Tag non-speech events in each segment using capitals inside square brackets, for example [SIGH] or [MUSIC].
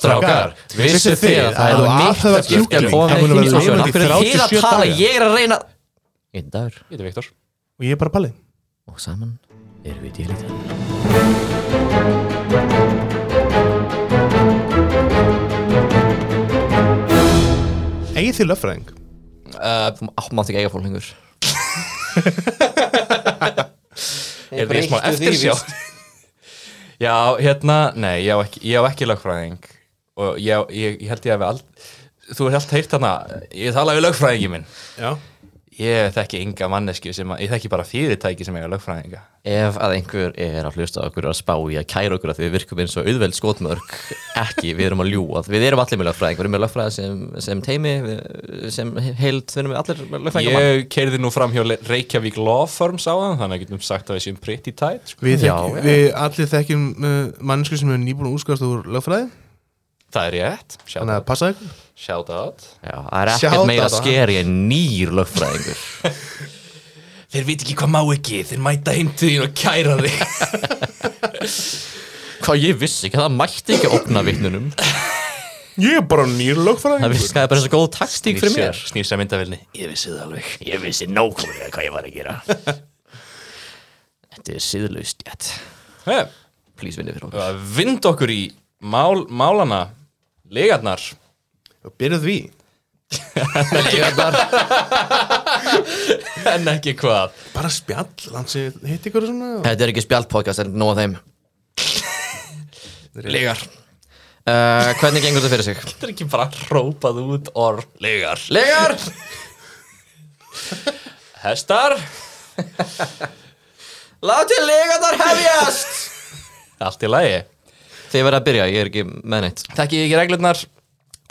Strákar, vissu þið að það að er mitt aðhöfa að skipta djúpling, komið það muni inn í vera söguna. lifandi í Af hverju er þið að 37 tala, daga? ég er að reyna Einn dagur Ég heiti Viktor og ég er bara palli og saman erum við dýrlítið eigið þið löffræðing uh, Mátt ekki eiga [LAUGHS] fólk hengur Er því smá eftirsjá [LAUGHS] Já, hérna, nei, ég á ekki, ég á ekki lögfræðing og ég, á- ég, ég held ég að við all Þú ert allt heyrt hana, ég tala við lögfræðingi minn já Ég þekki enga manneski sem að, ég þekki bara fyrirtæki sem eiga lögfræðinga Ef að einhver er að hlusta á okkur að spá í að kæra okkur að við virkum eins og auðveld skotmörk ekki, við erum að ljúa við erum allir með lögfræðing, við erum með lögfræðing sem, sem teimi, við- sem heild við erum með allir með lögfræðing Ég keirði nú fram hjá Le- Reykjavík Law Firms á það þannig að getum sagt að við séum pretty tight sko. við, Já, þekki, já. við allir þekkjum uh, mannsku sem er nýbúin að útskast úr löffræði Það er rétt, shout þannig að out, passa ykkur shout out. Já, það er Shout ekkert meira out á hann. skeri en nýr lögfræðingur Þeir veit ekki hvað má ekki, þeir mæta heimtið þín og kæra þig Hvað ég vissi ekki, það mætti ekki opna vittnunum ég er bara nýr [LAUGHS] Það löffræðing vissi það er bara eins og góð taktík fyrir mér Snýr sér myndavilni, ég vissi það alveg Ég vissi nákvæmlega hvað ég var að gera Þetta er síðlaust jætt Hef, Please vinni fyrir okkur að vinda okkur í mál, málana legarnar byrjuð því [LAUGHS] en ekki hvað bara spjall hans hitt ykkur svona Þetta er ekki spjaldpodcast, en nóg að þeim legar uh, Hvernig gengur þetta fyrir sig? þetta er ekki bara rópað út orð legar Legar! hestar Látið legarnar hefjast! allt í lagi Þið verða að byrja, ég er ekki með neitt þekki ég ekki reglurnar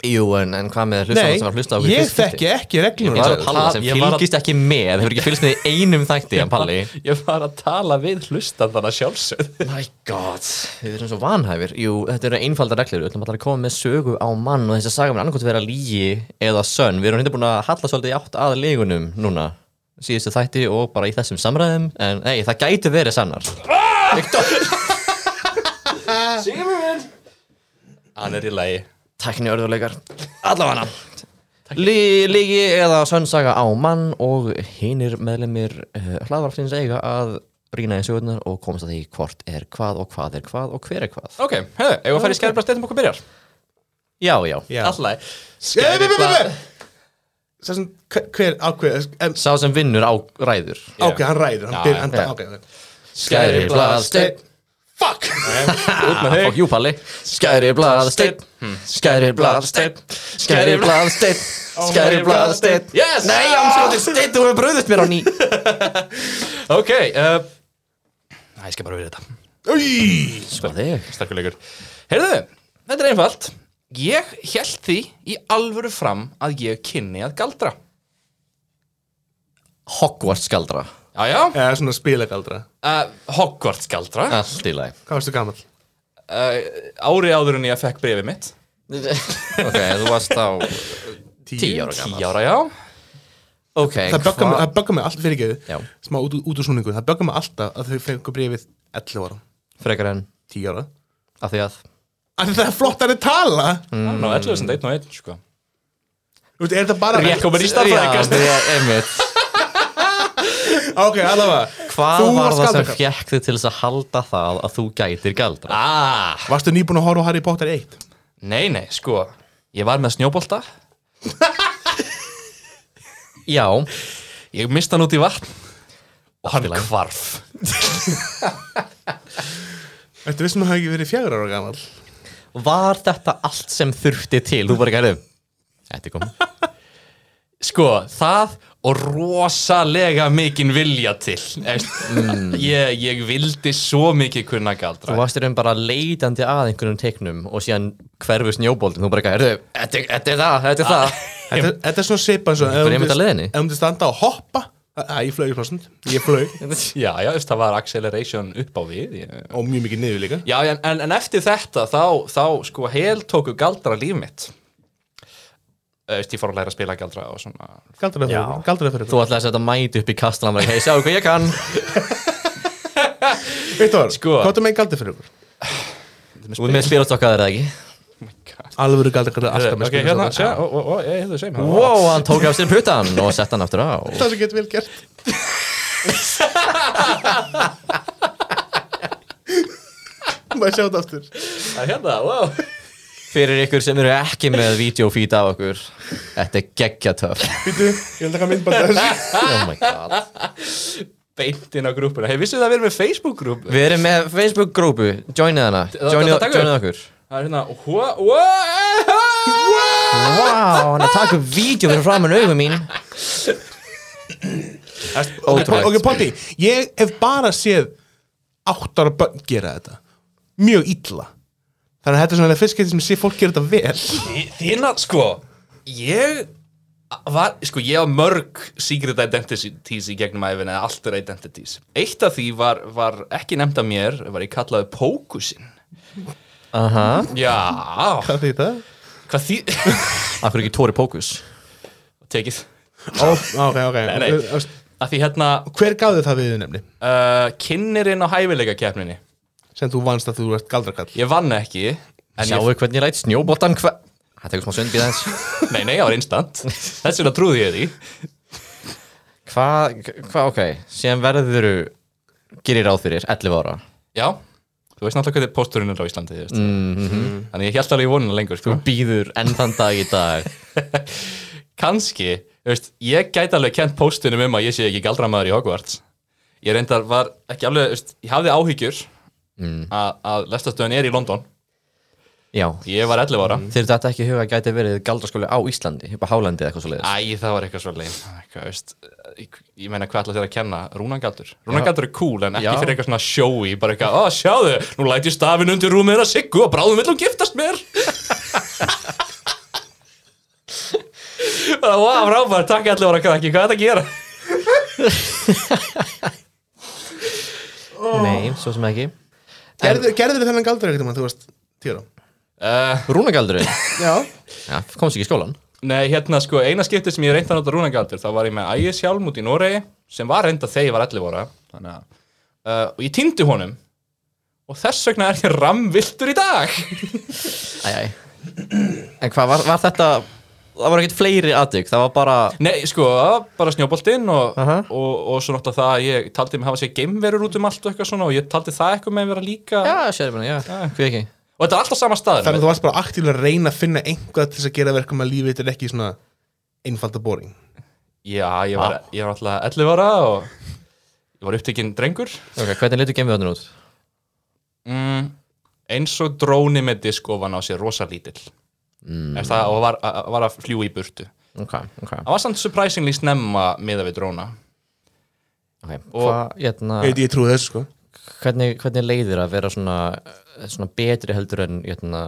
Jú, en, en hvað með hlustaðar sem var hlusta á okkur í ég fyrsta skipti? þekki ekki reglur Ég var að það palla sem Ég var að- fylgist ekki með Hefur ekki fylgst með í einum þætti, en palli ég var að tala við hlustan þannig [LAUGHS] sjálfsögð [LAUGHS] My god, við erum svo vanhæfir Jú, þetta eru einfaldar reglur, við ætlum allar að koma með sögu á mann og þess að saga mér annarkot vera lígi eða sönn, við erum hérna búin að halla svolítið í átt að legunum núna síðustu þætti og bara í þessum samræðum en nei, það gæti verið sannar Ah! hann er í lagi Tækni örðuleikar, allavega Lí- Lígi eða sönn saga á mann og hinir meðlemir uh, hlaðvarpsins eiga að rýna í sögurnar og komast að því hvort er hvað og hvað er hvað og hver er hvað ok, hefðu, ef við farið í skærblast þetta um okkur byrjar Já, já, já. allt í lagi Skæriblað- Sess sem hver ákveð em, sá sem vinnur á ræður ok, hann ræður hann byrjar hann já. okay, okay. Skæri blað steinn [LAUGHS] fuck út með Fokk þig jú palli Skæri blað steinn Skæri blað steinn Hmm. Skæri blað steinn Skæri blað steinn yes Nei, ámskóti steinn, þú hefur bröðist mér á ný ok uh, Æ, ég skal bara við þetta Új. Sko þig sterkur leikur Heyrðu, þetta er einfalt Ég held því í alvöru fram að ég kynni að galdra Hogwarts skaldra Já, já, eða svona spilagaldra uh, Hogwarts galdra uh, Allt í lagi hvað varstu gammal Ári áður en ég fekk brefið mitt [LAUGHS] Ok, þú varst á Tíu ára gammal Tí ára, já Ok, það böggar mig, hvað það böggar mig allt fyrir Já. ekki smá út, út úr snúningu það böggar mig alltaf að þau fengu bréfið 11 ára frekar en 10 ára Af því að að það er flott að þið tala Mm. Ná, 11 sem 1 og 1, sko Þú veist, er þetta bara Rétt komin í starfræðingast Já, það er einmitt [LAUGHS] Ah, ok, allavega Hvað Þú var varst það sem galdrakall. fjekk þig til þess að halda það að þú gætir galdra? Ah, varstu nýbúin að horfa á Harry Potter 1 nei, nei, sko Ég var með snjóbolta Já, Ég mista hann út í vatn Og hann Allt í lagi. hvarf Þetta vissum um að það hafi ekki verið fjagur ára gammal var þetta allt sem þurfti til? Þú bara gætið Þetta er komið Sko, það og rosalega mikinn vilja til mm. ég, ég vildi svo mikið kunna galdra Þú varst í raun bara leitandi að einhverjum teiknum og síðan hverfu snjóbóltin, þú bara eitthvað, "Heyrðu, þetta er- þetta er það, þetta er það. Ah. Þetta þetta er svona seipa eins og ef Bara þú einmitt myndir- á leiðinni. ef þú myndir standa og hoppa að ég flög í plásund ég flög Já, já, þú veist, það var acceleration upp á við ég... og mjög mikið niður líka Já, en, en, en eftir þetta þá, þá sko hel tóku galdra líf mitt Þú veist, ég fór að læra að spila galdra og svona galdra fyrir galdra fyrir Þú ætlaði að setja mæti upp í kastan og bara, hei, sjáu hvað ég kann. Viktor Sko. Sko. hvað er með galdra fyrir ykkur Þú ert með spyrastokkaður eða ekki? alvöru galdra galdra alltaf með Ok, spilin hérna, svona. sjá, og, og, og, ég hérna, hefði segjum Wow, hann tók af sér puttan og sett hann aftur á Það sem getur vel gert Maður sjá þetta aftur Hérna, wow Fyrir ykkur sem eru ekki með videofeed af okkur Þetta er geggja töff Býtu, ég vil taka myndbanda [LAUGHS] þessu Oh my god Beint inn á grúpuna, hei, vissu það að við erum með Facebook-grúp Við erum með Facebook-grúpu, joinið hana það- Joinið það- það- joinið okkur Það er hérna, hva, hva Vá, hann er að taka upp vídeo fyrir framann augum mín Ótrúlegt Ok, Potti, ég hef bara séð áttara bönn gera þetta Mjög illa Þannig að þetta er svona fyrst getið sem ég sé fólk gera þetta [LAUGHS] vel Þína, sko, ég var, sko, ég var mörg secret identities í gegnum æfina eða alter identities. Eitt af því var, var ekki nefnd af mér, var ég kallaði Pókusinn. Aha, Já, Hvað því það? hvað því... akkur ekki Tóri Pókus [LAUGHS] Tekið. Ó, ok, ok nei. Af því hérna, Hver gaf þið það við nefni? uh, kynnirinn á hæfileika keppninni. Sem þú vannst að þú ert galdrakall Ég vann ekki, en Sjáu hvernig ég læt snjóbottan hva... Það tekur smá sönd í þess ég... Nei, nei, það var instant. Þess vegna trúði ég því. Hvað, hvað, ok Síðan verður Gerir ráð fyrir, 11 ára Já, þú veist náttúrulega hvernig pósturinn er á Íslandi, þú veist. Þannig ég held alveg í vonuna lengur, sko. Þú býður enn þann dag í dag kannski, þú veist, ég gæti alveg kent póstunum um að ég sé ekki galdramæður í Hogwarts ég reyndar var ekki alveg, þú veist, ég hafði áhyggjur að, að lestastöðun er í London Já, ég var 11 ára Þeir þetta ekki í huga að gæti verið galdraskóli á Íslandi, upp á Hálandi eða eitthvað svo leiðis. Æ, það var eitthvað svo leið eitthvað, veist, ég, ég meina hvað ætla þér að kenna Rúnangaldur, Rúnangaldur er cool en ekki Já. fyrir eitthvað svona sjói, bara eitthvað, ó sjáðu nú læt ég stafin undir rúmið að siggu og bráðum vill hún giftast [LAUGHS] mér bara, wow, frábært, takk allir ára krakki, hvað er þetta að gera Nei, svo sem ekki. Gerður þið þennan galdra ekkert um að þú varst tíra? uh, Rúnagaldurinn, Já já, komst ekki í skólan. Nei, hérna sko, eina skiptið sem ég reyndi að nota rúnagaldur þá var ég með ægishjálm út í Noregi sem var reynda þegar ég var 11 ára þannig að uh, og ég týndi honum og þess vegna er ég ramviltur í dag [LAUGHS] Æ, æ. En hvað var, var þetta, það var ekkert fleiri aðdygg, það var bara, Nei, sko, bara snjóboltinn og, Aha. og, og svo náttúrulega það að ég taldi mig hafa sér geimverur út um allt og eitthvað svona og ég taldi það eitthvað með vera líka já, sérfina, já, Ah. hví ekki. og þetta er alltaf sama staður Þannig að þú varst bara aktíflega að reyna að finna einhvað til þess að gera verkum að lífið þetta er ekki svona einfalda boring Já, ég var, ég var alltaf 11 ára og ég var upptekinn drengur Ok, hvernig litur gemmiðöndun út? mm, eins og dróni með disk ofan á sér rosa lítill mm. það, og var, a- var að fljú í burtu það Ok, ok, var samt surprisingly snemma miða við dróna ok. Hvað, hérna, Ég, ég trúi þessu sko hvernig, hvernig leiðir að vera svona, svona betri heldur en, hérna,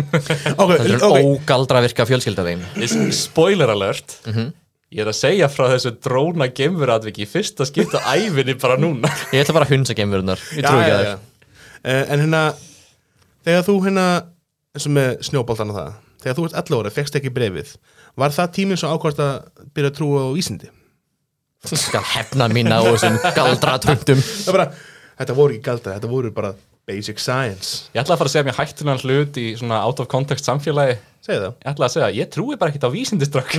Ok, heldur en ok, okay. ógaldravirka fjölskylda þeim? Is- spoiler alert ég er að segja frá þessu dróna geimveratvík í fyrsta skipta ævinni bara núna Ég ætla bara að hunsa gemmiðöndar, ég trú ekki að þér. Uh, En hérna, þegar þú hérna, eins og með snjóboltan og það Þegar þú ert 11 ára, fegst ekki brefið Var það tíminn svo ákvæmst að byrja að trúa á vísindi? Ég skal hefna mína á þessum galdratröndum. [LAUGHS] Það bara, þetta voru ekki galdra, þetta voru bara basic science ég ætla að fara að segja mér hættulegan hlut í svona out of context samfélagi Segðu það ég ætla að segja, ég trúi bara ekkert á vísindistrakk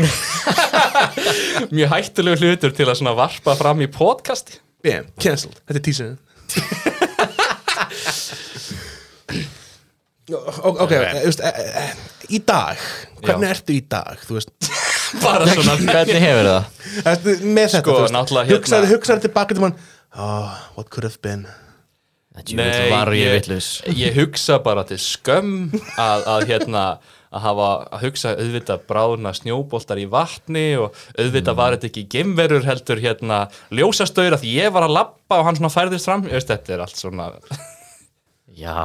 mjög hættulegu hlutur til að svona varpa fram í podcasti Bam, cancelled, þetta er tísinu Ok, ok, þú veist eh, eh, Í dag, hvernig ertu í dag? Þú veist, bara [LAUGHS] svona Hvernig hefur það? ertu með þetta Sko, þú veist, náttúrulega hérna- Hugsaðu, hugsaðu tilbaka til mann oh, What could have been Nei, var ég vitlaus. ég hugsa bara til skömm að, að hérna að hafa að hugsa auðvitað bráðna snjóboltar í vatni og Mm. auðvitað var þetta ekki gemverur heldur hérna ljósastöður að því ég var að labba og hann svona færðist fram ég veist þetta er allt svona Já,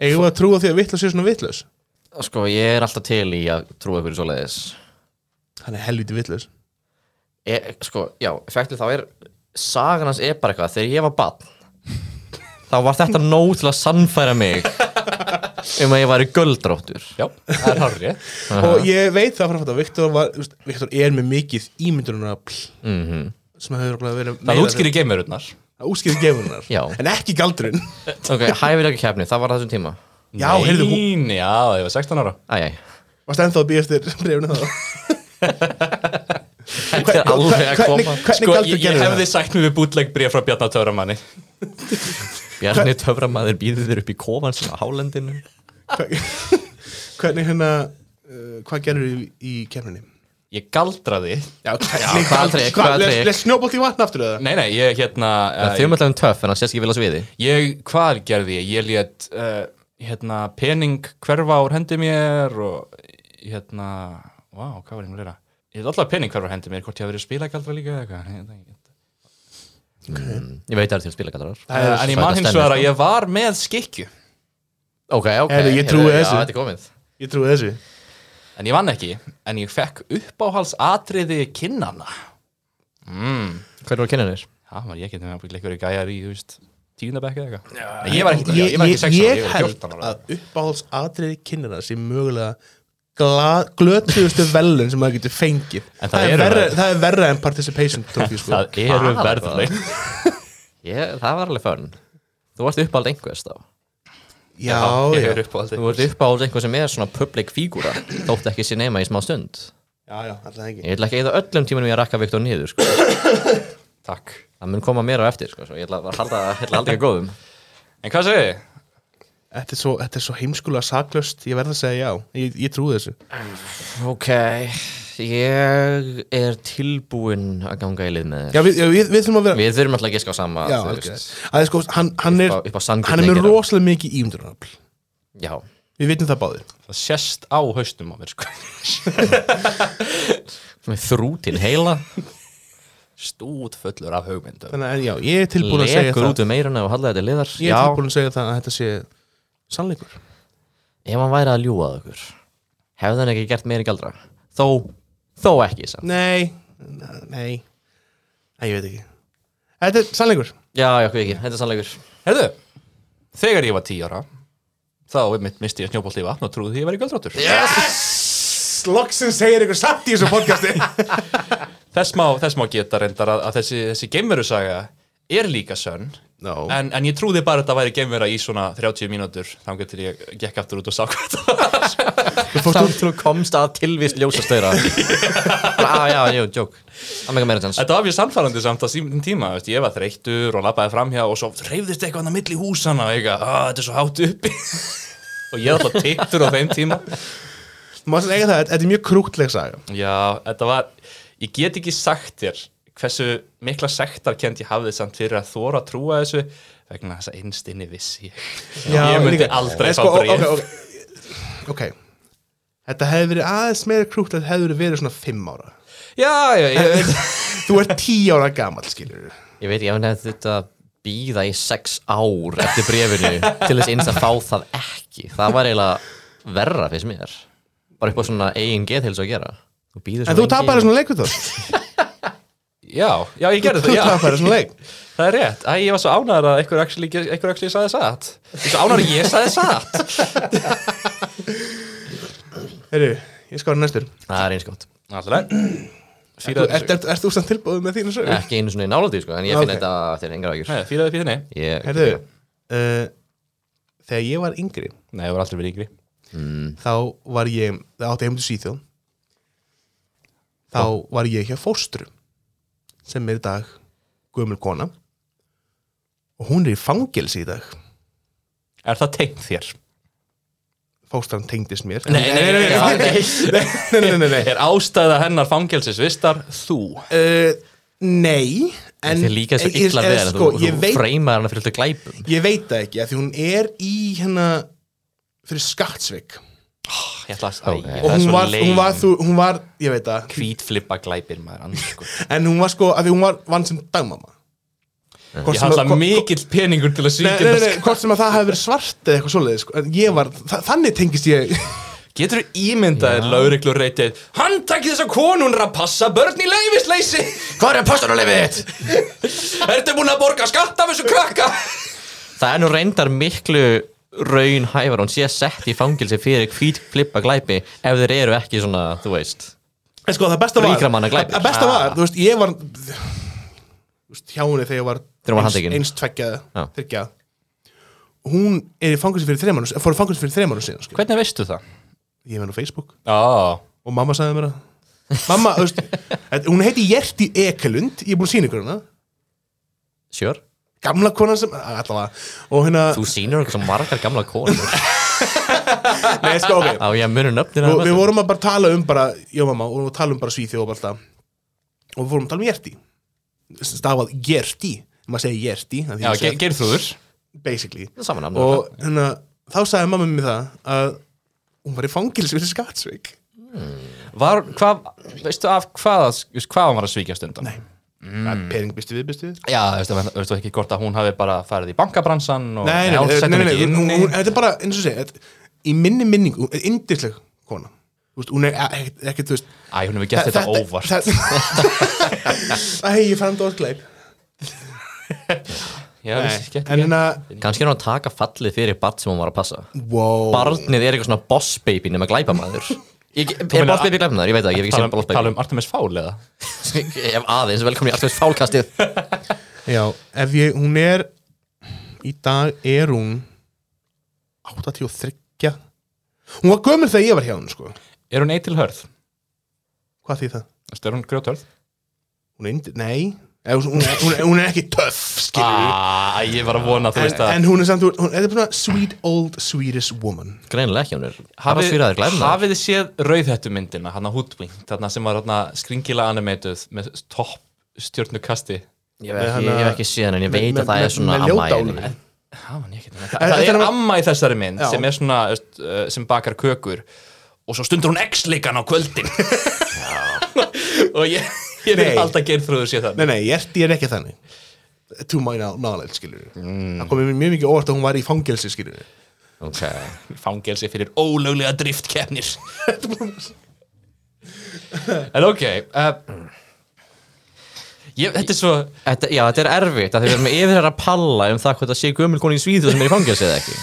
Eigum við að trúa því að vitlaus er svona vitlaus? sko ég er alltaf til í að trúa ykkur svo leiðis Hann er helviti vitlaus ég, Sko, já, effektið þá er sagan hans er bara eitthvað, þegar ég var barn þá var þetta nóg til að sannfæra mig um að ég væri guldróttur já, það er [LAUGHS] harri Og ég veit það frá þetta Viktor, var, þú veist, Viktor er með mikið ímyndunarafl mm -hmm. sem hefur örugglega verið það meira- útskýri gemverurnar Það útskýrir gefunar Já. En ekki galdurinn Ok, hæfilega keppni, það var á þessum tíma Já, heyrðu, hún- Nein, já, ég var 16 ára Æj, æj. Varst ennþá að býjast þér [LAUGHS] brefinu þá? Þetta er alveg að hvernig- koma hvernig- Sko, galdur ég, ég gerðirðu hefði sagt mér við bútleg bréf frá Bjarnar Töframanni Bjarni töframæður býður þér upp í kofan sem á hálendinu Hva- [LAUGHS] Hvernig hérna, uh, hvað gerur í, í kemninni? Ég galdraði Já, hvað atriði, hvað atriði? Les snjóbolt í vatn aftur eða? Nei, nei, ég hérna eh, Þau mötlaðum um töff en hann sést ekki vel á sviði Ég, hvað gerði ég? Ég lét uh, hérna, pening hverfa úr hendi mér og hérna, vá, wow, hvað var ég nú að lera? Ég lét alltaf pening hverfa úr hendi mér, hvort ég hafi verið spilagaldra líka eða eitthvað. Ég veit það ekki. mm, Ég veit það er sko. til spilagaldrar Eh, En ég man hins vegar að ég var með skikju, Ok, ok Heyrðu, ég trúi heyrðu, þessu. Já, þetta er komið Ég trúi þessu. en ég vann ekki, en ég fekk uppáhals atriði kinnana. Mm, Hvernig voru kynninir? það var ég getið með að byrja einhverju gæjar í, þú veist, tíundabekki eða eitthvað. Nei, Ég var ekki, ég, var ekki 16 ára, ég ég var held 14 ára. að uppáhaldsatriði kynna sem mögulega gla- glötuðustu velun sem maður getur fengið. En það eru verra, verðlaun. það er verra en participation trophy, sko. Það eru Hvað? verðleg. [LAUGHS] Ég, það var alveg fönn Þú varst uppáld einhvers þá já, ég já. er uppáhaldið. Þú varst uppáld einhver sem er svona public fígúra Þótt ekki sér nema í smá stund Já, já, alltaf ekki. Ég ætla ekki að eða öllum tímanum ég að rakka Viktor niður sko. Takk. Það mun koma mér á eftir sko. svo Ég ætla að halda, ég ætla að halda ekki góðum En hvað segir þið? Þetta er svo, þetta er svo heimskulega saklaust, ég verð að segja já. Ég, ég trúi þessu. Ok, ég er tilbúinn að ganga í lið með þér Já, við, já, við, við þurfum að vera... Við þurfum alltaf að giska á sama Já, þú algjörlega. veist. Það er sko, hann, hann er, Upp á- upp á sanngirni hann er með að gera. rosalega mikið ímyndunarafl. Já, Við vitum það báðir. Það sést á haustum á mér sko með þrútin heila Stút fullur af hugmyndum Þannig að já, ég er tilbúin að segja Lekur það. út um meirana og halda þetta til liðar Ég er tilbúin að segja það að þetta sé sannleikur. ef hann væri að ljúga að okkur Hefði hann ekki gert meiri galdra Þó, þó ekki samt Nei, nei, nei, ég veit ekki. Þetta er sannleikur. Já, já, hvað ekki, þetta er sannleikur Herðu, þegar ég var 10 ára þá einmitt misti ég snjóbolt í vatn og trúði því ég væri göldráttur yeah. Slokksinn segir ykkur satt í þessu [LAUGHS] podcasti. þess, má, þess má geta reyndar að, að þessi, þessi geimverusaga er líka sönn no. en, en ég trúði bara að þetta væri geimvera í svona 30 mínútur þangar til ég gekk aftur út og sá hvað það var Samt þú komst að tilvist [LAUGHS] ljósastöra Já, já, jú, joke Það meika meira tjans Þetta var mjög sannfærandi samt á símum tíma veist, ég var þreyttur og labbaði framhjá og svo reyfðist eitthvað hann að milli húsana og eitthvað, "Ah, þetta er svo hátt uppi [LAUGHS] og ég var alltaf tittur á þeim tíma Má sem eiga það, þetta er mjög krútleg saga. Já, þetta var, ég get ekki sagt þér hversu mikla sektarkend ég hafði samt fyrir að þóra að trúa þessu vegna þess að einst inni vissi ég. ég myndi líka- aldrei Nei, fá sko, bréf. ok, ok. ok. Þetta hefði verið aðeins meira krútlegt hefði verið svona fimm ára. Já, já, ég, Þú ert tí ára gammal, skilur við. Ég veit ekki, ef hann hefði þetta býða í sex ár eftir brefinu til þess eins að fá það ekki það var eiginlega verra fyrst mér bara upp á svona eigin geðhilsu að gera Þú býður En þú lengi. tapar svona leik við það já, já, ég gerði Þú það, tapar já. svona leik Það er rétt, Æ, ég var svo ánæður að einhver actually, einhver actually saði satt. Ég var svo ánæður að ég saði satt. Heyrðu, ég skora næstur Það er eins gott Alltaf, Ert fýraði er, er, er þú samt tilbúið með þínu Eh. sögur? Ekki einu svona í nálaði sko, en ég finn Ok. þetta til engar ágjur fýraði fýðinni. Ég Heyrðu, uh, þegar ég var yngri Nei, ég var aldrei verið yngri. Mm. þá var ég, það átti heim til Svíþjóð þá var ég hjá fóstru sem er í dag gömul kona og hún er í fangelsi í dag Er það tengt þér? fóstran tengdist mér nei, [LAUGHS] nei, nei, nei, nei, nei. Er ástæða hennar fangelsisvistar þú? Uh, nei en Þið er líka svo ég- illa eh, við hann sko, Þú, ég þú veit freymar hann fyrir alltaf glæpum Ég veit það ekki, af því hún er í hérna fyrir skattsvik Ég ætla að Ok. æ, það og er hún svo var, hún, lame. var, þú, hún var, ég veit það hvítflippa glæpir maður annars sko. en hún var sko, af því hún var vann sem dagmama Hvort Ég sem halla að- hvo- mikill peningur til að um Nei, svíkja nei, nei, þetta, nei, hvort sem að það hefði verið svart eða eitthvað svoleiðis, sko, en ég var, þa þannig tengist ég sko. Getur þú ímyndaðir lauriklu reytið Hann takkir þess að konun er að passa börn í leifisleisi [LAUGHS] Hvað er postunulegið þitt? Ertu búin að borga skatt af þessu krakka? Það er nú reyndar miklu raun hævar Hún sé sett í fangilsi fyrir hvít flippa glæpi Ef þeir eru ekki svona, þú veist en sko, það besta var, Ríkra manna glæpir. Ah. að besta var, þú veist, ég var þú veist, hjá henni þegar ég var Þegar hún var eins, handtekin. eins tveggja, Já. þryggja hún er í fangelsi fyrir þremann fór í fangelsi fyrir þremann síðan sko. Hvernig veistu það? ég með á Facebook Já, og mamma sagði mér að mamma, þú veist, [LAUGHS] þetta- hún heiti Hjerti Ekelund ég er búin að sína ykkur hana Sure. gamla konan sem, allavega og hérna, Þú sýnir okkur svo margar gamla konur nei sko, [LAUGHS] ok Á ég að munu nöfnir og við vorum að bara tala um bara já mamma, og við vorum að tala um bara svíþjóð og alltaf og við vorum að tala um Hjerti stafað Hjerti, maður segir Hjerti af því já ég ge segi- Geirþrúður basically Saman nafn og hérna, þá sagði mamma mér það að hún var í fangils fyrir Skatsvík Var, hvað, veistu af hvað hvað hann var að svíkjast undan? nei, mm. pering býstu við, býstu við Já, veistu, veistu ekki hvort að hún hafi bara farið í bankabransan og nei, nei, hún nei, setti nei, hann nei, ekki hún- inn hún- þetta er bara, eins og segja þetta- í minni minning, hún er yndisleg kona, þú veist, hún er e- ekkert, ekkert, þú veist Æ, hún hefur gert þetta óvart Æ, ég framd óskleip Já, vissi, En gett ekki hérna, Kannski er hún að taka fallið fyrir barn sem hún var að passa wow Barnið er eitthvað svona boss baby nema glæpamaður ég, Er meinar- boss baby glæpamaður? Ég veit það, ekki, ég hef ekki Tala sem um, boss tala [LAUGHS] baby um Artemis Fowl eða? Ef aðeins, velkomin í alltaf fálkastið Já, ef ég, hún er Í dag er hún 83 Hún var gömur þegar ég var hjá hún, sko Er hún eitil hörð? Hvað því það? Veistu, er hún grjóthörð? Hún er indi, nei Eða Hún, hún, hún, er- hún er ekki töff, skilur Ah, ég var að vona að þú En, veist að en hún er samt, hún þetta er bara sweet old Swedish woman Greinilega ekki, hún er Hafa Hafið svíraður glæpamaður hafið þið séð rauðhættu myndina, hann að Hoodwink, þarna sem var þarna skringila animeituð með topp stjörnukasti. Ég hef ekki- hana- ég hef ekki séð hann en ég með- veit að það með- er svona með amma í ljóta henni. álfur. Há, man, ég ekki, það, En- það þetta er er- amma í þessari mynd Já. sem er svona, veist, uh, sem bakar kökur og svo stundur hún x-leikan á [LAUGHS] kvöldin. [LAUGHS] og ég, ég vil Nei. alltaf geirþröður sé það. Nei, nei, Jerti er ekki þannig To my knowledge, skilur mm. Það komið mér mjög mikið óvart að hún var í fangelsi, skilur Ok. Fangelsi fyrir ólöglega driftkeppnir. [LAUGHS] en ok, uh, ég, þetta er svo... Þetta, já, þetta er erfitt að því við erum yfir þér að palla um það hvað það sé gömul koni í svíðu sem er í fangelsi eða ekki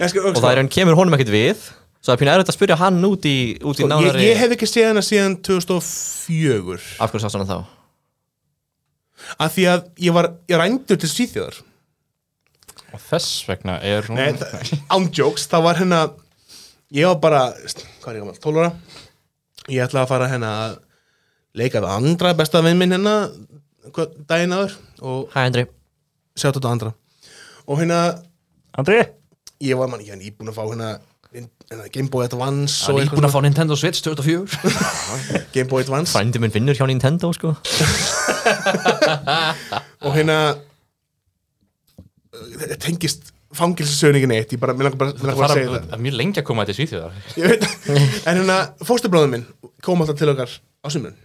Og og það er hann kemur honum ekkert við svo það er pínu erfitt að spyrja hann út í, út Sko, í ég, nánari ég hef ekki séð hana síðan 2004 af hverju sást hann þá af því að ég var ég rændur til Svíþjóðar Og þess vegna er hún... Nei, það- án jokes, það var hérna ég var bara, st- hvað er ég gammal, 12 ára ég ætlaði að fara hérna að leika við andra besta vinn minn hérna hvað- daginn áður og Hæ Andri sjá þetta andra og hérna, Andri? ég var mann, ég hann íbúin að fá hérna, hérna Gameboy Advance Hann og er eitthvað íbúin að fá Nintendo Switch 2004 svona, Gameboy Advance Frændi minn vinnur hjá Nintendo sko og hérna þetta tengist fangilsasöningi neitt ég bara, mér langar bara, mér langar bara Það er að segja bara- það það er mjög lengi að koma þetta í Svíþjóðar ég veit, en hérna, fósturbróðum minn kom alltaf til okkar á sumrun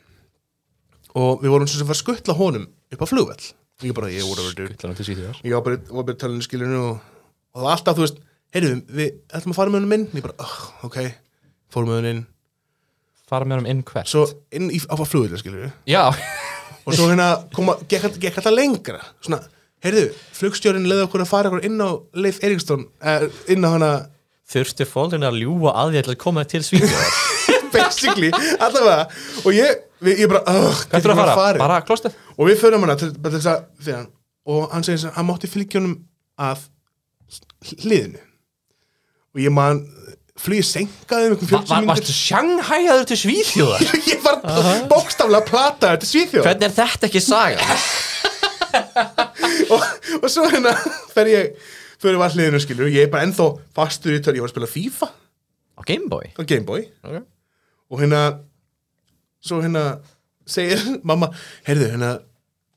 og við vorum sem sem var skuttla honum upp á flugvell ég bara, ég voru að vera dude. Guttlandi Svíþjóðar ég var bara, var bara talinu skilinu og, og það var alltaf, þú veist, heyrðu, við ætlum að fara með honum inn, ég bara, oh, ok fórum með honum inn, Fara með honum inn hvert svo inn í, á flugvell skilinu, Já, og svo hérna koma, gekk, gekk alltaf lengra svona, heyrðu, flugstjórin leiði okkur að fara okkur inn á Leif Eriksson uh, inn á hana, Þurfti fólkin að ljúa að ég ætla að koma til svíðu [LAUGHS] basically allavega, og ég, við, ég bara uh, hvert er að fara? Bara klostið? og við förum hana til, bara til þess að fyrir hann og hann segir þess að hann mátti fylgja honum af hliðinu og ég man flugið senkaði um einhvern 40 Var, varstu mínútur sjanghæjaður til Svíþjóðar? [LAUGHS] ég var bókstaflega plataður til Svíþjóð Hvernig er þetta ekki saga? og, og svo hérna fer ég fyrir var hliðinu skilur ég er bara ennþá fastur í törn ég var að spila FIFA Á Gameboy á Gameboy okay. og hérna svo hérna segir mamma heyrðu hérna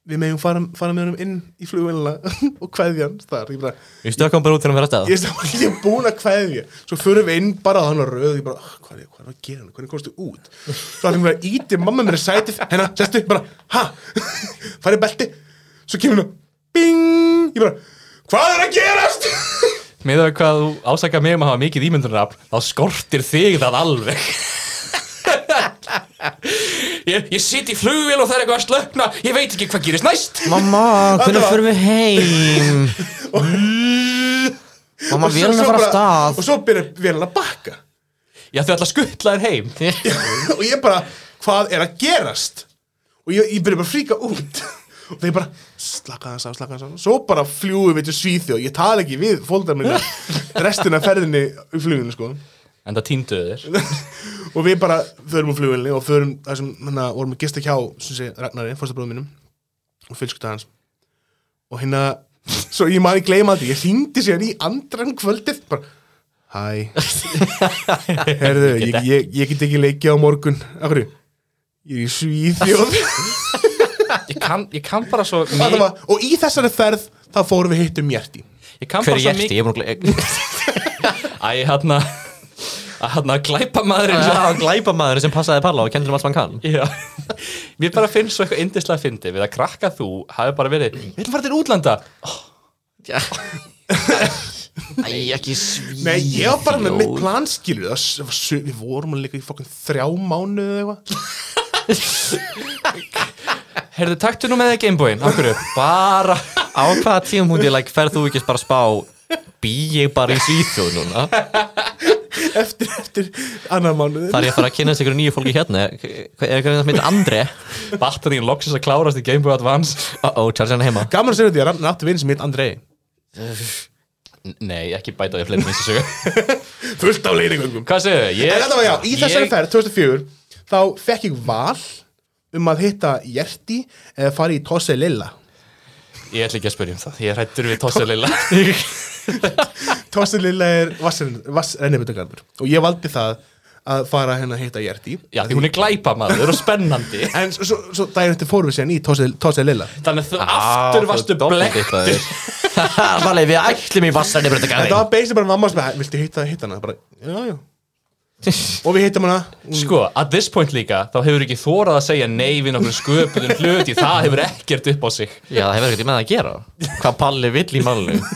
við megum fara, fara með honum inn í flugvélina [LAUGHS] og kveðja hann þar ég, bara, Ég stökkum bara út þegar hann verið að ég, er sá- ég er búin að kveðja svo förum við inn bara á hann og röð ég bara, "Ah, hvað er, hvað er að gera hann, hvernig komstu út svo hann bara íti mamma mér í sætið hérna, sestu, bara, ha [LAUGHS] farið belti, svo kemur hann bing, ég bara, hvað er að gerast Með það hvað þú ásaka mig um að hafa mikið ímyndunarafl þá skortir þig það alveg [LAUGHS] Ég, ég sit í flugvél og það er eitthvað að slökna Ég veit ekki hvað gerist næst Mamma, hvernig Þetta var- fyrir við heim? Mamma, Og svo- við erum svo að fara af bara- stað og svo byrja vélina að bakka Já, þau ætla að skuttla þér heim [LAUGHS] [LAUGHS] og ég bara, hvað er að gerast? Og ég, ég byrja bara að fríka út [LAUGHS] og þeir bara slaka hans á, slaka hans á svo bara fljúum við til Svíþjóð ég tala ekki við fólkdæra minna restina af ferðinni í fluginu sko En það týnduðu þér og við bara förum úr flugilni og förum það sem hérna vorum að gista hjá sem sé, Ragnari, fórstabróðum mínum og fylskta hans og hérna, [LAUGHS] svo ég maður gleyma því ég hringdi sér í andran kvöldið bara, [LAUGHS] hæ herðu, ég, ég, ég get ekki leikja á morgun, af hverju ég er í Svíþjóð [LAUGHS] Ég kann, ég kann bara svo Þetta mikið var, og í þessari ferð þá fórum við hittum Mjerti Ég kann Hver bara er svo Hjerti? mikið Ég er búin að [LAUGHS] glæ... Æ, hann að Hann að glæpa maðurinn Það sem var glæpamaðurinn sem passaði Palla og kendur um allt sem hann kann Já, mér bara finnst svo eitthvað yndislega fyndi við að krakka þú hafi bara verið Við ætlum fara til útlanda Æ, ekki svíð Nei, ég var bara með mitt planskilu Við vorum að líka í fokkin þrjá mánu eða eitthvað [LAUGHS] Herðu, taktu nú með þig Gameboyin, okkur Bara, Á hvaða tíum hún til, like, ferð þú ekki bara að spá Bý ég bara í Svíþjóð núna Eftir, eftir annar mánu Þar ég að fara að kynna sig ykkur nýju fólki hérna Er eitthvað sem heitir Andre batterín loksins að klárast í Gameboy Advance Uh-oh, Charles hann er hérna heima Gaman að segja því að rann áttu vinn sem heit Andrei N- Nei, ekki bæta því fleiri minnst þessu Fullt á leiningöngum Hvað segðu? Ég, En þetta var já, í þessari ég- ferð 2004 þá fekk ég val um að hitta Hjerti eða fara í Tosse Lilla Ég ætla ekki að spyrja um það, ég er hættur við Tossa Lilla Tosse Lilla er eh, vassrennibutangarður og ég valdi það að fara hérna að hitta Hjerti Já, því hún er glæpa maður og spennandi En svo, svo- svo daginn eftir fórum við sérna í Tosse Lilla Þannig að þú aftur varstu blekk [LAUGHS] Valli, við ætlum í vassarni breyta Þetta var basically bara mamma sem bara, viltu hitta, hitta hana? Bara, já, [LAUGHS] já. Og við hittum hana. Hún- Sko, at this point líka, þá hefur ekki þórað að segja nei við nokkur sköpunum hluti, það hefur ekkert upp á sig. Já, það hefur ekkert með það að gera Hvað Palli vill í málunum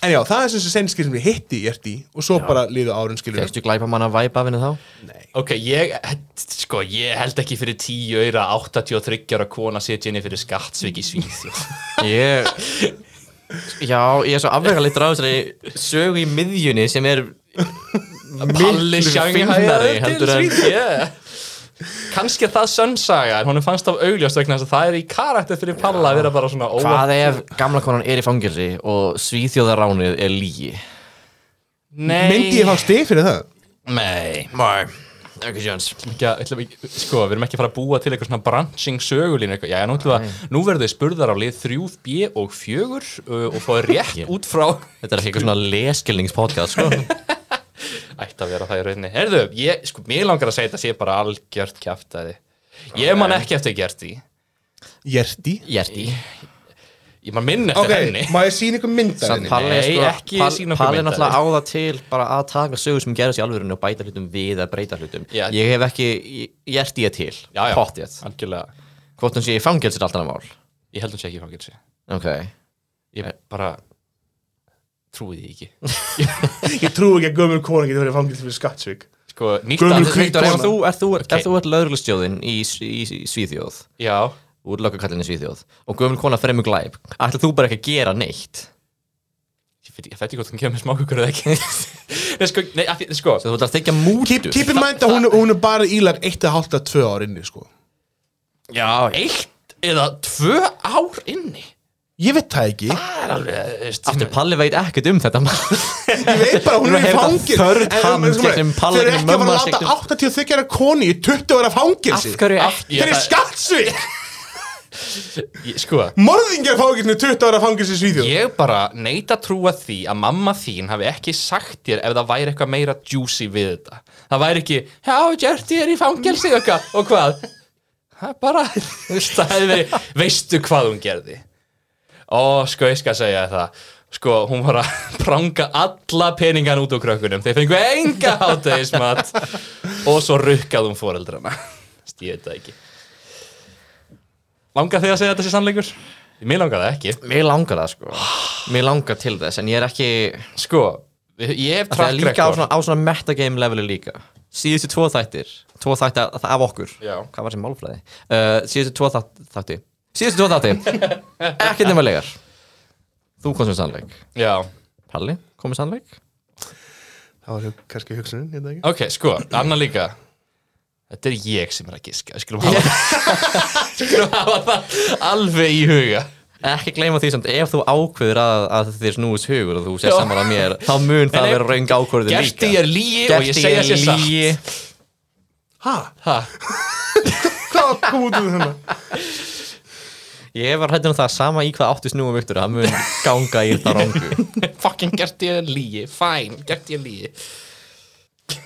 En já, það er sem sem senskið sem við hitti ég í og svo bara liðu árun skilur. Fekstu glæpamann að væpa af henni þá? Ok, ég, sko, ég held ekki fyrir 10 öyra 83 ára kona setja henni fyrir skattsvik í Svíþjóð. Ég Já, ég er svo afvega litur á þessari sögu í miðjunni sem er Palli fínari Shanghai heldur en Yeah. Kanski er það sönnsaga, en honum fannst af augljóst vegna þess að það er í karakter fyrir Palla að vera bara svona óa... Hvað ef gamla konan er í fangelsi og svíþjóðaránið er lígi? Nei. Myndi ég fá stig fyrir það? Nei. Nei, ekki sjöns ekki að, ætlum ekki, sko, við erum ekki að fara að búa til eitthvað svona branching sögulín eitthvað, já, nú ætlum við að, nú verður þau spurðar á lið 3, B og 4 uh, og fáið rétt út frá Þetta er ekki eitthvað svona leskilningspodcast [LAUGHS] sko. ætti að vera það í rauninni, herðu, ég, sko, mér langar að segja þetta sé bara algjört kjaftaði ég man ekki eftir gert því Hjerti. Hjerti ég man minn eftir Ok, henni má ég sína ykkur myndar henni? Palli er Nei, sko, ekki sýna Pall- okkur Palli er myndavél. náttúrulega á það til bara að taka sögur sem gerast í alvörinu og bæta hlutum við að breyta hlutum Já. Ég hef ekki hjerti ég til [LAUGHS] já, já, Pottið algjörlega, Hvort hún sé í fangelsi er alltaf mál ég held hún sé ekki hvað getur sé Ok ég bara trúi því ekki Ég trú ekki að gömur kona getur verið fangilsið fyrir skattsvík. [LAUGHS] sko, Gömul nýttan, kví- Viktor, ef þú ert, þú, Ok. ef þú ert lögreglustjóðin í, í, í Svíþjóð já, úr lögakallin í Svíþjóð og gömul kona fremur glæp ætlar þú bara ekki að gera neitt ég veit ég veit ekki hvort hún kemur með smákukur eða ekki [LAUGHS] nei, sko, nei, af því- sko, svo þú ætlar að þykja mútur Keep, keep in mind að hún, er- hún er bara ílag 1,5-2 ár inni, sko. Já, eitt eða tvö ár inni Ég veit það ekki. Það er alveg, veist Aftur, Palli veit ekkert um þetta mál. Ég veit bara að hún Hún er í hefur það fangilsið. third hand gegnum Palli Þeir eru ekki að fara mömmu að láta signum. 83 ára koni í 20 ára Af fangilsið. hverju Af- ekki? Ég- Þeir eru skattsvík. ég, Sko, Morðingar fá ekki 20 ára fangilsi í Svíþjóð ég bara neita trúa því að mamma þín hafi ekki sagt þér ef það væri eitthvað meira juicy við þetta Það væri ekki, já, Gjörti er í fangelsi og hvað, og hvað Það er bara, [LAUGHS] þú veist, það hefði verið Veistu hvað hún gerði? Ó, sko, ég skal segja þér það Sko, hún var að [LAUGHS] pranga alla peningan út úr krökkunum Þeir fengu enga hátegismat Og svo rukkaði hún foreldrana [LAUGHS] Þú veist, Ég veit það ekki Langar þið að segja þetta sé sannleikur? Mér langar það ekki Mér langar það sko Mér langar til þess en ég er ekki Sko, ég hef Það er track líka á record svona, á svona metagame leveli líka Síðustu tvo þættir Tvo þætti af- af okkur Já. Hvað var sem málfræði? Uh, síðustu tvo þætt- þætti Síðustu tvo þætti Ekki nema legar Þú komst með sannleik Já, Palli, komið sannleik Það var kannski hugsunin, ég veit það ekki ok, sko, annar líka Þetta er ég sem er að giska, við skulum [LAUGHS] hafa, skulum hafa það alveg í huga. Ekki gleyma því samt, ef þú ákveður að, að þér snúist hugur og þú sér Já. saman að mér, þá mun það En ef- vera raung ákvörðin líka. Gerti ég líi og ég segja sér satt. satt. Hæ? Ha, [LAUGHS] Hvað kom út úr hérna? þennan? Ég var hættur um það sama í hvað áttu snúum yktur, það um mun ganga í það rangu. [LAUGHS] fucking gerti ég líi, fæn, gerti ég líi. [LAUGHS]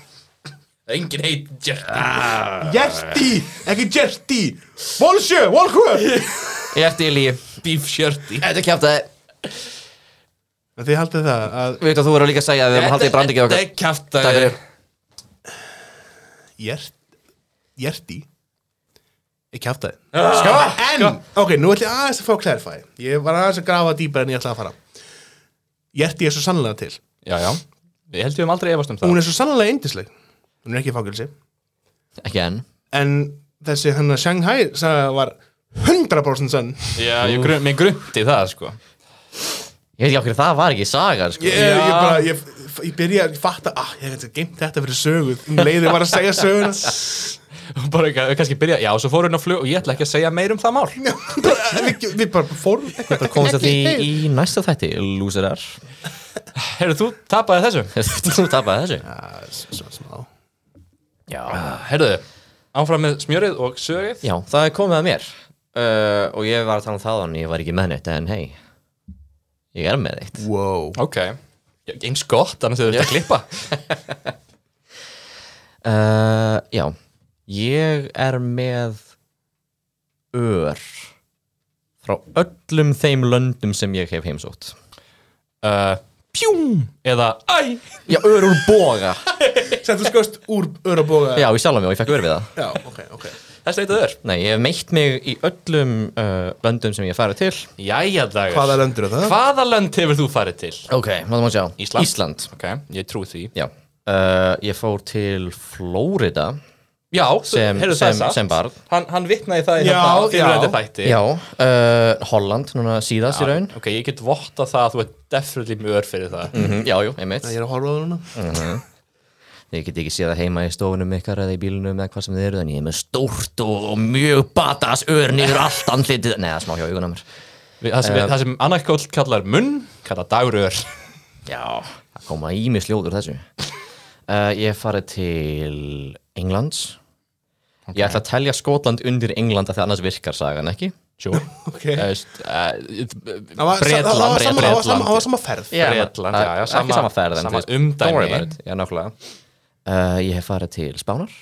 Engin heit gerti. Ah. Gerti, ekki Gerti Volsjö, Volkur Gerti ég líi. Beef shirti. Þetta er kjátt að Þið haldið það að Við veitum að þú verður líka að segja að við erum haldið í brandi ekki Þetta okkar er kæft Takk fyrir. Gert, Gerti Ég kjáftaði fyrir. Sko, En, ok, nú ætlum ég aðeins að fá að clarify Ég var aðeins að grafa dýpar en ég ætlaði að fara Gerti er svo sannlega til Já, já. Við heldum aldrei efast um það. Hún er svo sannlega yndisleg Hún er ekki í fangilsi Ekki enn En þessi hann að Shanghai sagði að var 100% sann Já, ég grun, mér grunti það, sko. Ég veit ekki okkur það var ekki sagan sko. Ég, ég bara, ég, ég byrja að fatta ah, Ég hef geimt þetta fyrir sögu Um leiði var að segja söguna Og [LAUGHS] Bara kann- kannski byrja, já, svo fór hún á flug og ég ætla ekki að segja meir um það mál. Við við bara fórum eitthvað Bara komast að Ekki, því í næsta þætti Lúsirar Herru, þú tapaði þessu. [LAUGHS] Þú tapaði þessu Ah, s- s- smá. Já, herruðu, Ah, áfram með smjörið og sögið Já, það er komið að mér uh, Og ég var að tala um það en ég var ekki með neitt En hei, ég er með neitt Wow Ok, Já, eins gott, annars þau eru að klippa uh, Já, ég er með ör frá öllum þeim löndum sem ég hef heimsótt uh, Pjúm, eða Æ, Já, ör úr boga Settu skoðst úr öraboga Já, ég sjálf mig og ég fekk ör við það Já, ok, ok þess leitað er Nei, ég hef meitt mig í öllum uh, löndum sem ég hef farið til Jæja dagur, Hvaða löndur er það? hvaða lönd hefur þú farið til? Ok, maður má sjá Ísland. Ísland, Ok, ég trú því já uh, Ég fór til Flórida Já, Sem- herruðu sem- það satt sem barn. Hann, hann vitnaði það í Já, hérna fyrirverandi já. þætti Já, uh, Holland, núna síðast í raun Ok, ég get votta það að þú ert definitely mör fyrir það mm Já, jú, einmitt Ég er að horfa á það núna Ég get ekki séð það heima í stofunum ykkar eða í bílunum eða hvað sem þið eru En ég er með stórt og, og mjög batas ör niður allt andlitið Nei, það er smá hjá augunum Við- Það Eh. sem, uh, það sem annar kóll kallar munn, kallar dagurör Já, það koma ímis ljóður þessu uh, Ég hef farið til Englands Ég ætla að telja Skotland undir Englanda þegar annars virkar sagan ekki uh, Sure Ok Eh, st- eh, Það var- það- það var sama- það var sama- það var sama ferð Já, Bretland, það- já, já, ekki sama- sama ferð en sama þú veist, umdæmi. don't worry about it. Já, nákvæmlega uh, Ég hef farið til Spánar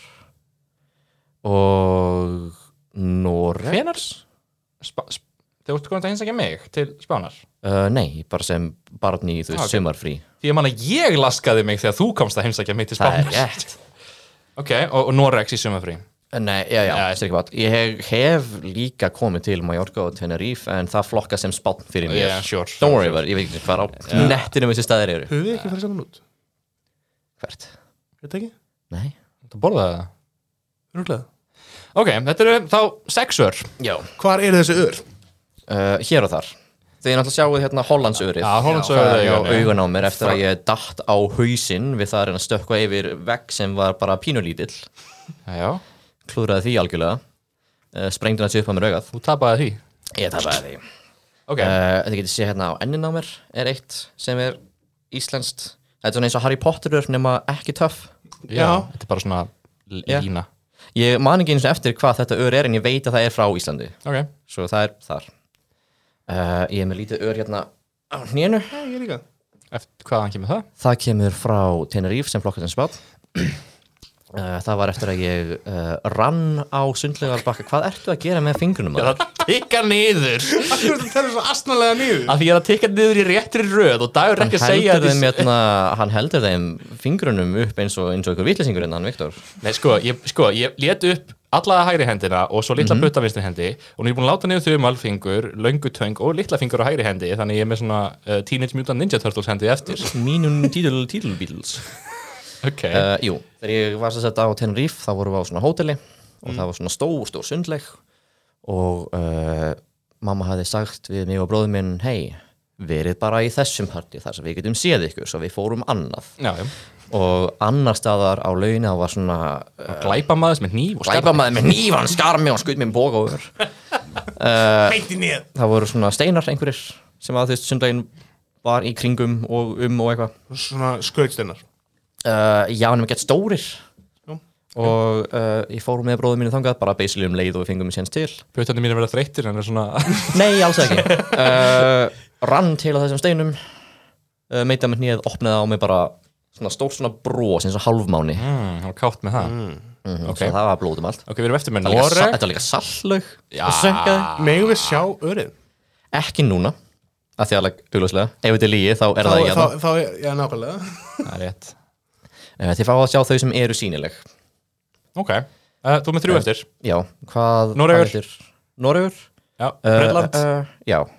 og Noreg Hvenar Þegar þú komið að hinsækja mig til Spánar uh, Nei, bara sem barn í, þú veist, Ah, ok. okay. sumarfrí Því ég man að ég laskaði mig þegar þú komst að heimsækja mig til Það er Spánar rétt Uh, Ok, og, og Norex í sumafrí Nei, já, já, Já. já. Bát. ég hef, hef líka komið til Mallorca og Tenerife en það flokka sem spátn fyrir mér Yeah, sure, sure, Don't worry about it, ég veit ekki hvað á nettinu þessi staðir eru Höfum við ekki farið saman út? Hvert? Þetta ekki? Nei Þú borðaði það? Rúglega Ok, þetta eru þá sexur Já Hvar eru þessi ör? uh, hér og þar Þegar ég náttúrulega sjáu hérna Hollandsurið Já, Hollandsurið Það er á augun, já. augun á mér eftir að ég datt á hausinn við það að reyna að stökkva yfir vegg sem var bara pínulítill Já, klúðraði því algjörlega uh, sprengdi hann sér upp á mér augað þú tapaði því Eh, Ég tapaði því uh, Ok, Þetta getur séð hérna á ennin á mér er eitt sem er íslenskt Þetta er svona eins og Harry Potterur nema ekki töff já, þetta er bara svona l- Já. lína Ég man ekki eins og eftir hvað þetta ör er en ég veit að það er frá Íslandi Ok, Svo það er þar uh, Ég er með lítið ör hérna á hnénu Já, ég líka eftir hvaðan kemur það? Það kemur frá Tenerife sem flokkast sem spátt. [CLEARS THROAT] Uh, það var eftir að ég uh, rann á sundlegar bakka. Hvað ertu að gera með fingrunum? maður? það tikka niður Akkur þetta telur svo astnalega niður Af því ég er að tikka niður í réttri röð og dagur er Hann ekki að segja heldur, því þeim, hérna, hann heldur þeim fingrunum upp eins og, eins og ykkur vitlesingur innan, Viktor. Nei, sko, ég, sko, ég let upp alla hægri hendina og svo Mhm. litla mm -hmm. butta vinstri hendi og nú er ég búin að láta niður um þumalfingur, löngutöng og litla fingur á hægri hendi þannig ég er með svona uh, Teenage Mutant Ninja Turtles hendi eftir [LAUGHS] Mínum títil, títilbíls. Ok, Uh, jú, þegar ég var sem sagt á Tenerife, þá vorum við á svona hóteli og Mm. það var svona stór, stór eh, sundleg og uh, mamma hafði sagt við mig og bróðum minn, hei, verið bara í þessum partí þar sem við getum séð ykkur svo við fórum annað já, já. og annar staðar á launa var svona uh, Glæpa maður sem er nýf og glæpa maður með nýfan skarmi og skutt mér boga over Uh. Beinti niður það voru svona steinar einhverjir sem að þú veist sundlegin var í kringum og um og eitthvað Svona skautstinnar uh, já, hann er gett stórir Já. og uh, ég fór með bróðum mínu þangað bara basically um leið og við fengum séns til Pötandi mín er verið þreyttir en er svona [LAUGHS] nei, alls ekki uh, rann til á þessum steinum uh, meita með hnið, opnaði á mig bara svona stór svona bros eins og hálfmáni mm, hann var kátt með það mm, okay. það var blóðum allt Ok, við erum eftir með Þetta var líka sa- Noreg þetta var líka salllög Já. og söngaði Megum við sjá örið ekki núna að því alveg augljóslega ef þetta er lígi þá er það hérna. ekki þá, að þá, já, nákvæmlega Það er rétt það Eh, þið fá að sjá þau sem eru sínileg Ok, uh, þú er Eh, með þrjú eftir já, hvað Noregur. Eh, hvað heitir- Noregur Já, Uh, Bredland uh, já, og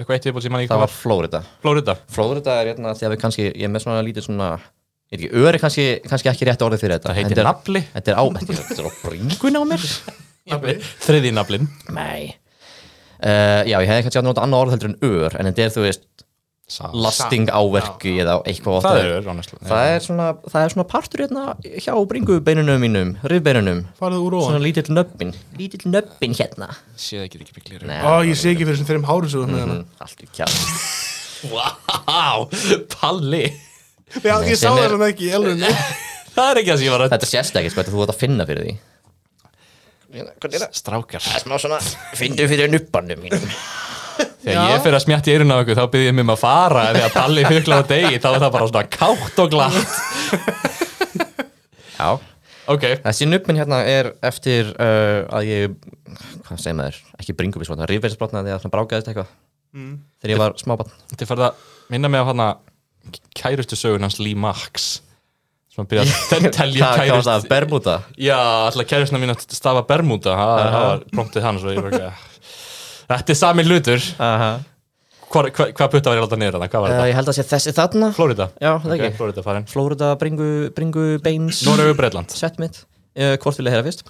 eitthvað eitt viðból sem hann það líka var var Flórida Flórida Flórida er hérna því að við kannski ég er með svona lítið svona ég veit ekki, öri kannski, kannski ekki rétt orðið fyrir þetta Það heitir Þetta er- nafli. þetta er á, þetta er- þetta er á bringun á mér [LAUGHS] Þriði naflin nei Uh, já, ég hefði kannski átt að nota annað orð heldur en ör en þetta er, þú veist, lasting áverki eða eitthvað átt Það að- er honestly það er svona, það er svona partur hérna hjá bringubeinunum mínum, rifbeinunum Farðu úr svona óan lítill nöbbin, lítill nöbbin hérna Sér ekki ekki miklir Nei, Ó, ég sé ekki fyrir þessum þeirrim hárum sem þú ert með hérna. hana mm, allt í kjall Vá, Palli Já, ég sá sem það er- svona ekki í elvunni Það er ekki það sem ég var að þetta sést ekki, sko, þetta þú átt að finna fyrir því Strákar smá svona, finnum fyrir nubbanum mínum Þegar ég fyrir að smjatti eirun á ykkur þá byrði ég mig um að fara en þegar Palli fyrklaði á degi þá er það bara svona kátt og glatt já, Ok, þessi nubbin hérna er eftir uh, að ég hvað segir maður, ekki bringubisbrotna rifbeinsbrotna því að það brákaðist eitthvað þegar ég var smábann þetta er farið að minna mig á hana kærustu sögun hans Lee Max sem að byrja að [LAUGHS] tel- telja Hvað- hvað var það, kærust bermuda Já, alltaf kærustuna mín að stafa Bermuda það það var promptið hans og ég var ekki Þetta er sami hlutur Hvar- hva- Hvað putta var ég alltaf niður þarna? Hvað var uh, þetta? ég held að sé þessi þarna Florida já, það Ok, ekki Florida farin Flórida, bringu, bringu, beins Noregu, Breitland Sett mitt uh, Hvort vil ég heyra fyrst?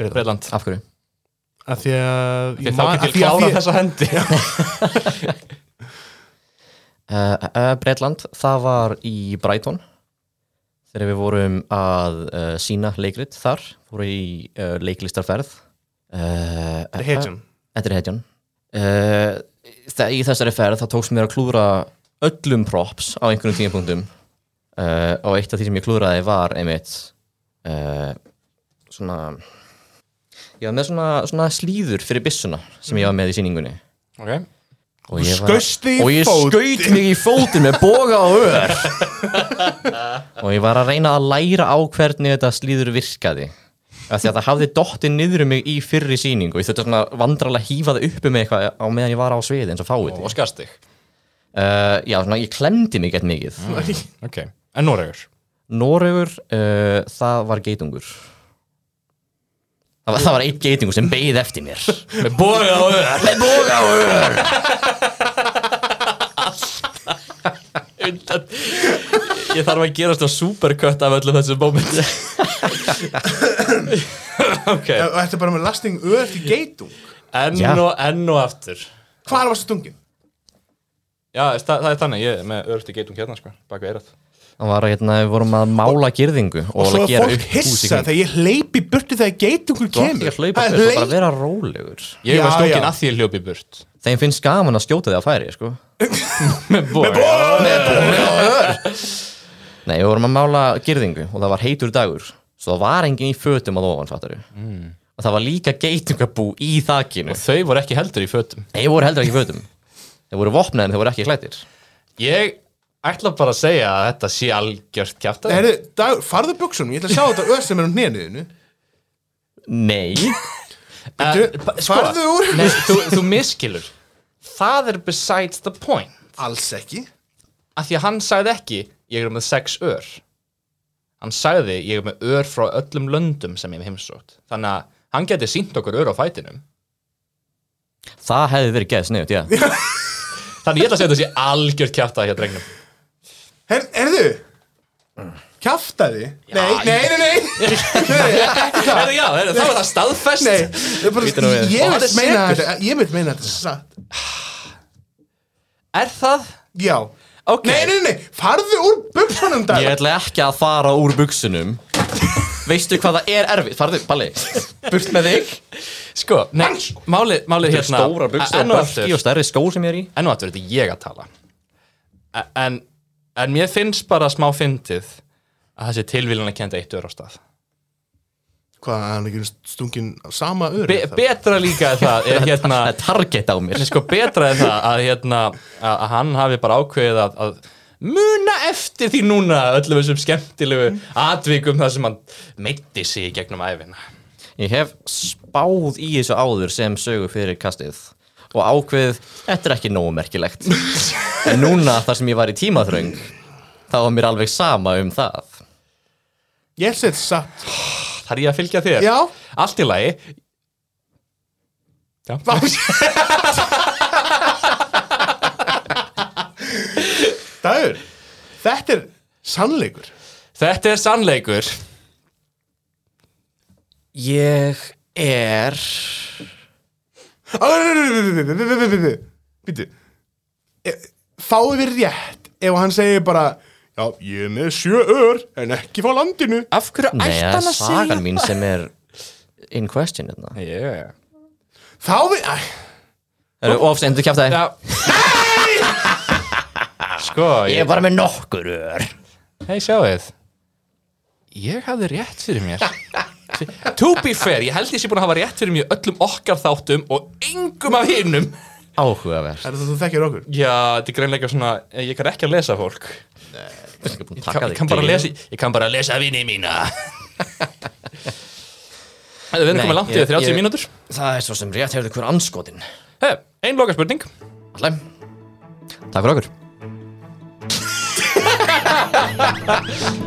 Breitland Af hverju? Af því að Þegar þá af getur því ég að klára því- þessa hendi Uh, uh, Breitland, það var í Brighton Þegar við vorum að uh, sína leikrit þar Voru í uh, leiklistarferð uh, The Hedgeon. Þetta er hetjan uh, þe- Í þessari ferð það tókst mér að klúðra öllum props á einhvernum tímapunktum uh, og eitt af því sem ég klúðraði var einmitt uh, svona ég var með svona, svona slíður fyrir byssuna sem ég var með í sýningunni Ok og ég, var, skaust þig í og ég fótinn. skaut mig í fótinn með boga og ör [LAUGHS] og ég var að reyna að læra á hvernig þetta slíður virkaði af því að það hafði dottið niður um mig í fyrri sýningu og ég þurfti svona vandralega að hífa það uppi með eitthvað á meðan ég var á sviði eins og fáið Og skastig uh, já, svona ég klemdi mig gett mikið [LAUGHS] Ok En Noregur Noregur, uh, það var geitungur það var, það var einn geitungur sem beigð eftir [LAUGHS] mér Með boga og öðar Með boga og öðar Ég þarf að gera svona supercut af öllum þessum moment Ok Og Þetta er bara með lasting öð til geitung Enn Já. og enn og aftur Hvar varstu stungin? Já, það, það er þannig, ég er með örfti geitum hérna sko, bak við eirað það var hérna, við vorum að mála girðingu og, Og svo að er gera fólk upp hús í hissa þegar ég hleypi burti þegar geitungur kemur kemur ekki að hlaupa Það er fyrst, það er hleyp- bara að vera rólegur Ég var Já, stókin já. að því ég hljópi burt þeim finnst gaman að skjóta þig á færi sko. Með boga nei, við vorum að mála girðingu og það var heitur dagur svo það var enginn í fötum að ofan fattaru mm. og það var líka geitungabú í þakinu Og þau voru ekki heldur í fötum þeir voru heldur ekki í fötum þeir voru vopnaði en þeir voru ekki klættir Ég ætla bara að segja að þetta sé algjört kjafta Heyrðu, Dagur, farðu buksunum, ég ætla að sjá þetta öð sem er um hnenuðinu nei, Eh, sko- Farðu úr Nei, þú, þú miskilur Það er besides the point Alls ekki Af því að hann sagði ekki Ég er með sex ör Hann sagði ég er með ör frá öllum löndum sem ég hef heimsótt Þannig að hann geti sínt okkur ör á fætinum það hefði verið geðs nefnt, já Þannig ég ætla að segja þetta sé algjört kjafta hjá drengnum Her- Heyrðu Kjaftaði Nei, nei, nei, nei [LAUGHS] Nei, ekki það. Heyrðu, já, heyrðu, Þá er það staðfest Nei, það er bara- Bíddu nú við. ég Og hann vil er meina sekur. þetta Ég vil meina þetta er satt Er það? Já Ok. Nei, nei, nei, farðu úr buksunum dag Ég ætla ekki að fara úr buksunum Veistu hvað það er erfið? Farðu, Balli, burt með þig Sko, nei, málið, málið Þetta er hérna stóra buksur enn og og bölki og aftur, stærri skó sem ég er í enn og aftur, þetta er ég að tala E- En, en mér finnst bara smá fyndið að það sé tilvílan að kenda eitt ör á stað Hvað, hann er ekki stungin á sama öru Be Betra líka er það er hérna Það er target á mér En sko betra er það að, hérna, að, að hann hafi bara ákveðið að, að muna eftir því núna öllum þessum skemmtilegu atvikum þar sem hann meitti sig í gegnum æfina. Ég hef spáð í þessu áður sem sögu fyrir kastið og ákveðið, þetta er ekki nógu [LAUGHS] merkilegt en núna þar sem ég var í tímaþröng þá var mér alveg sama um það Ég set satt Þar ég að fylgja þér? Já. Allt í lagi. Já. Dagur, þetta er sannleikur Þetta er sannleikur. Ég er Býtu E, Fáum við rétt ef hann segir bara Já, ég er með sjö ör en ekki frá landinu Af hverju Nei, ætti hann það er að segja? sagan mín sem er in question hérna Yeah. Þá við Æ, Það eru ofsendur kjátt aðeins Já. [LAUGHS] sko, Ég er ég... bara með nokkur ör hei sjáuð. Ég hafði rétt fyrir [LAUGHS] mér. to be fair, ég held ég sé búin að hafa rétt fyrir mér í öllum okkar þáttum og engum af hinnum. Áhugavert Er það þú þekkir okkur? Já, þetta er greinlega svona, eh, ég kann ekki að lesa fólk Ég Ég kann, ég kann, bara, lesa, ég kann bara lesa vini [LAUGHS] mína Þetta við erum Nei, komið langt í ég- 30 ég- mínútur Það er svo sem rétt hefur hver anskotin Hei, ein loka spurning Allæm Takk fyrir okkur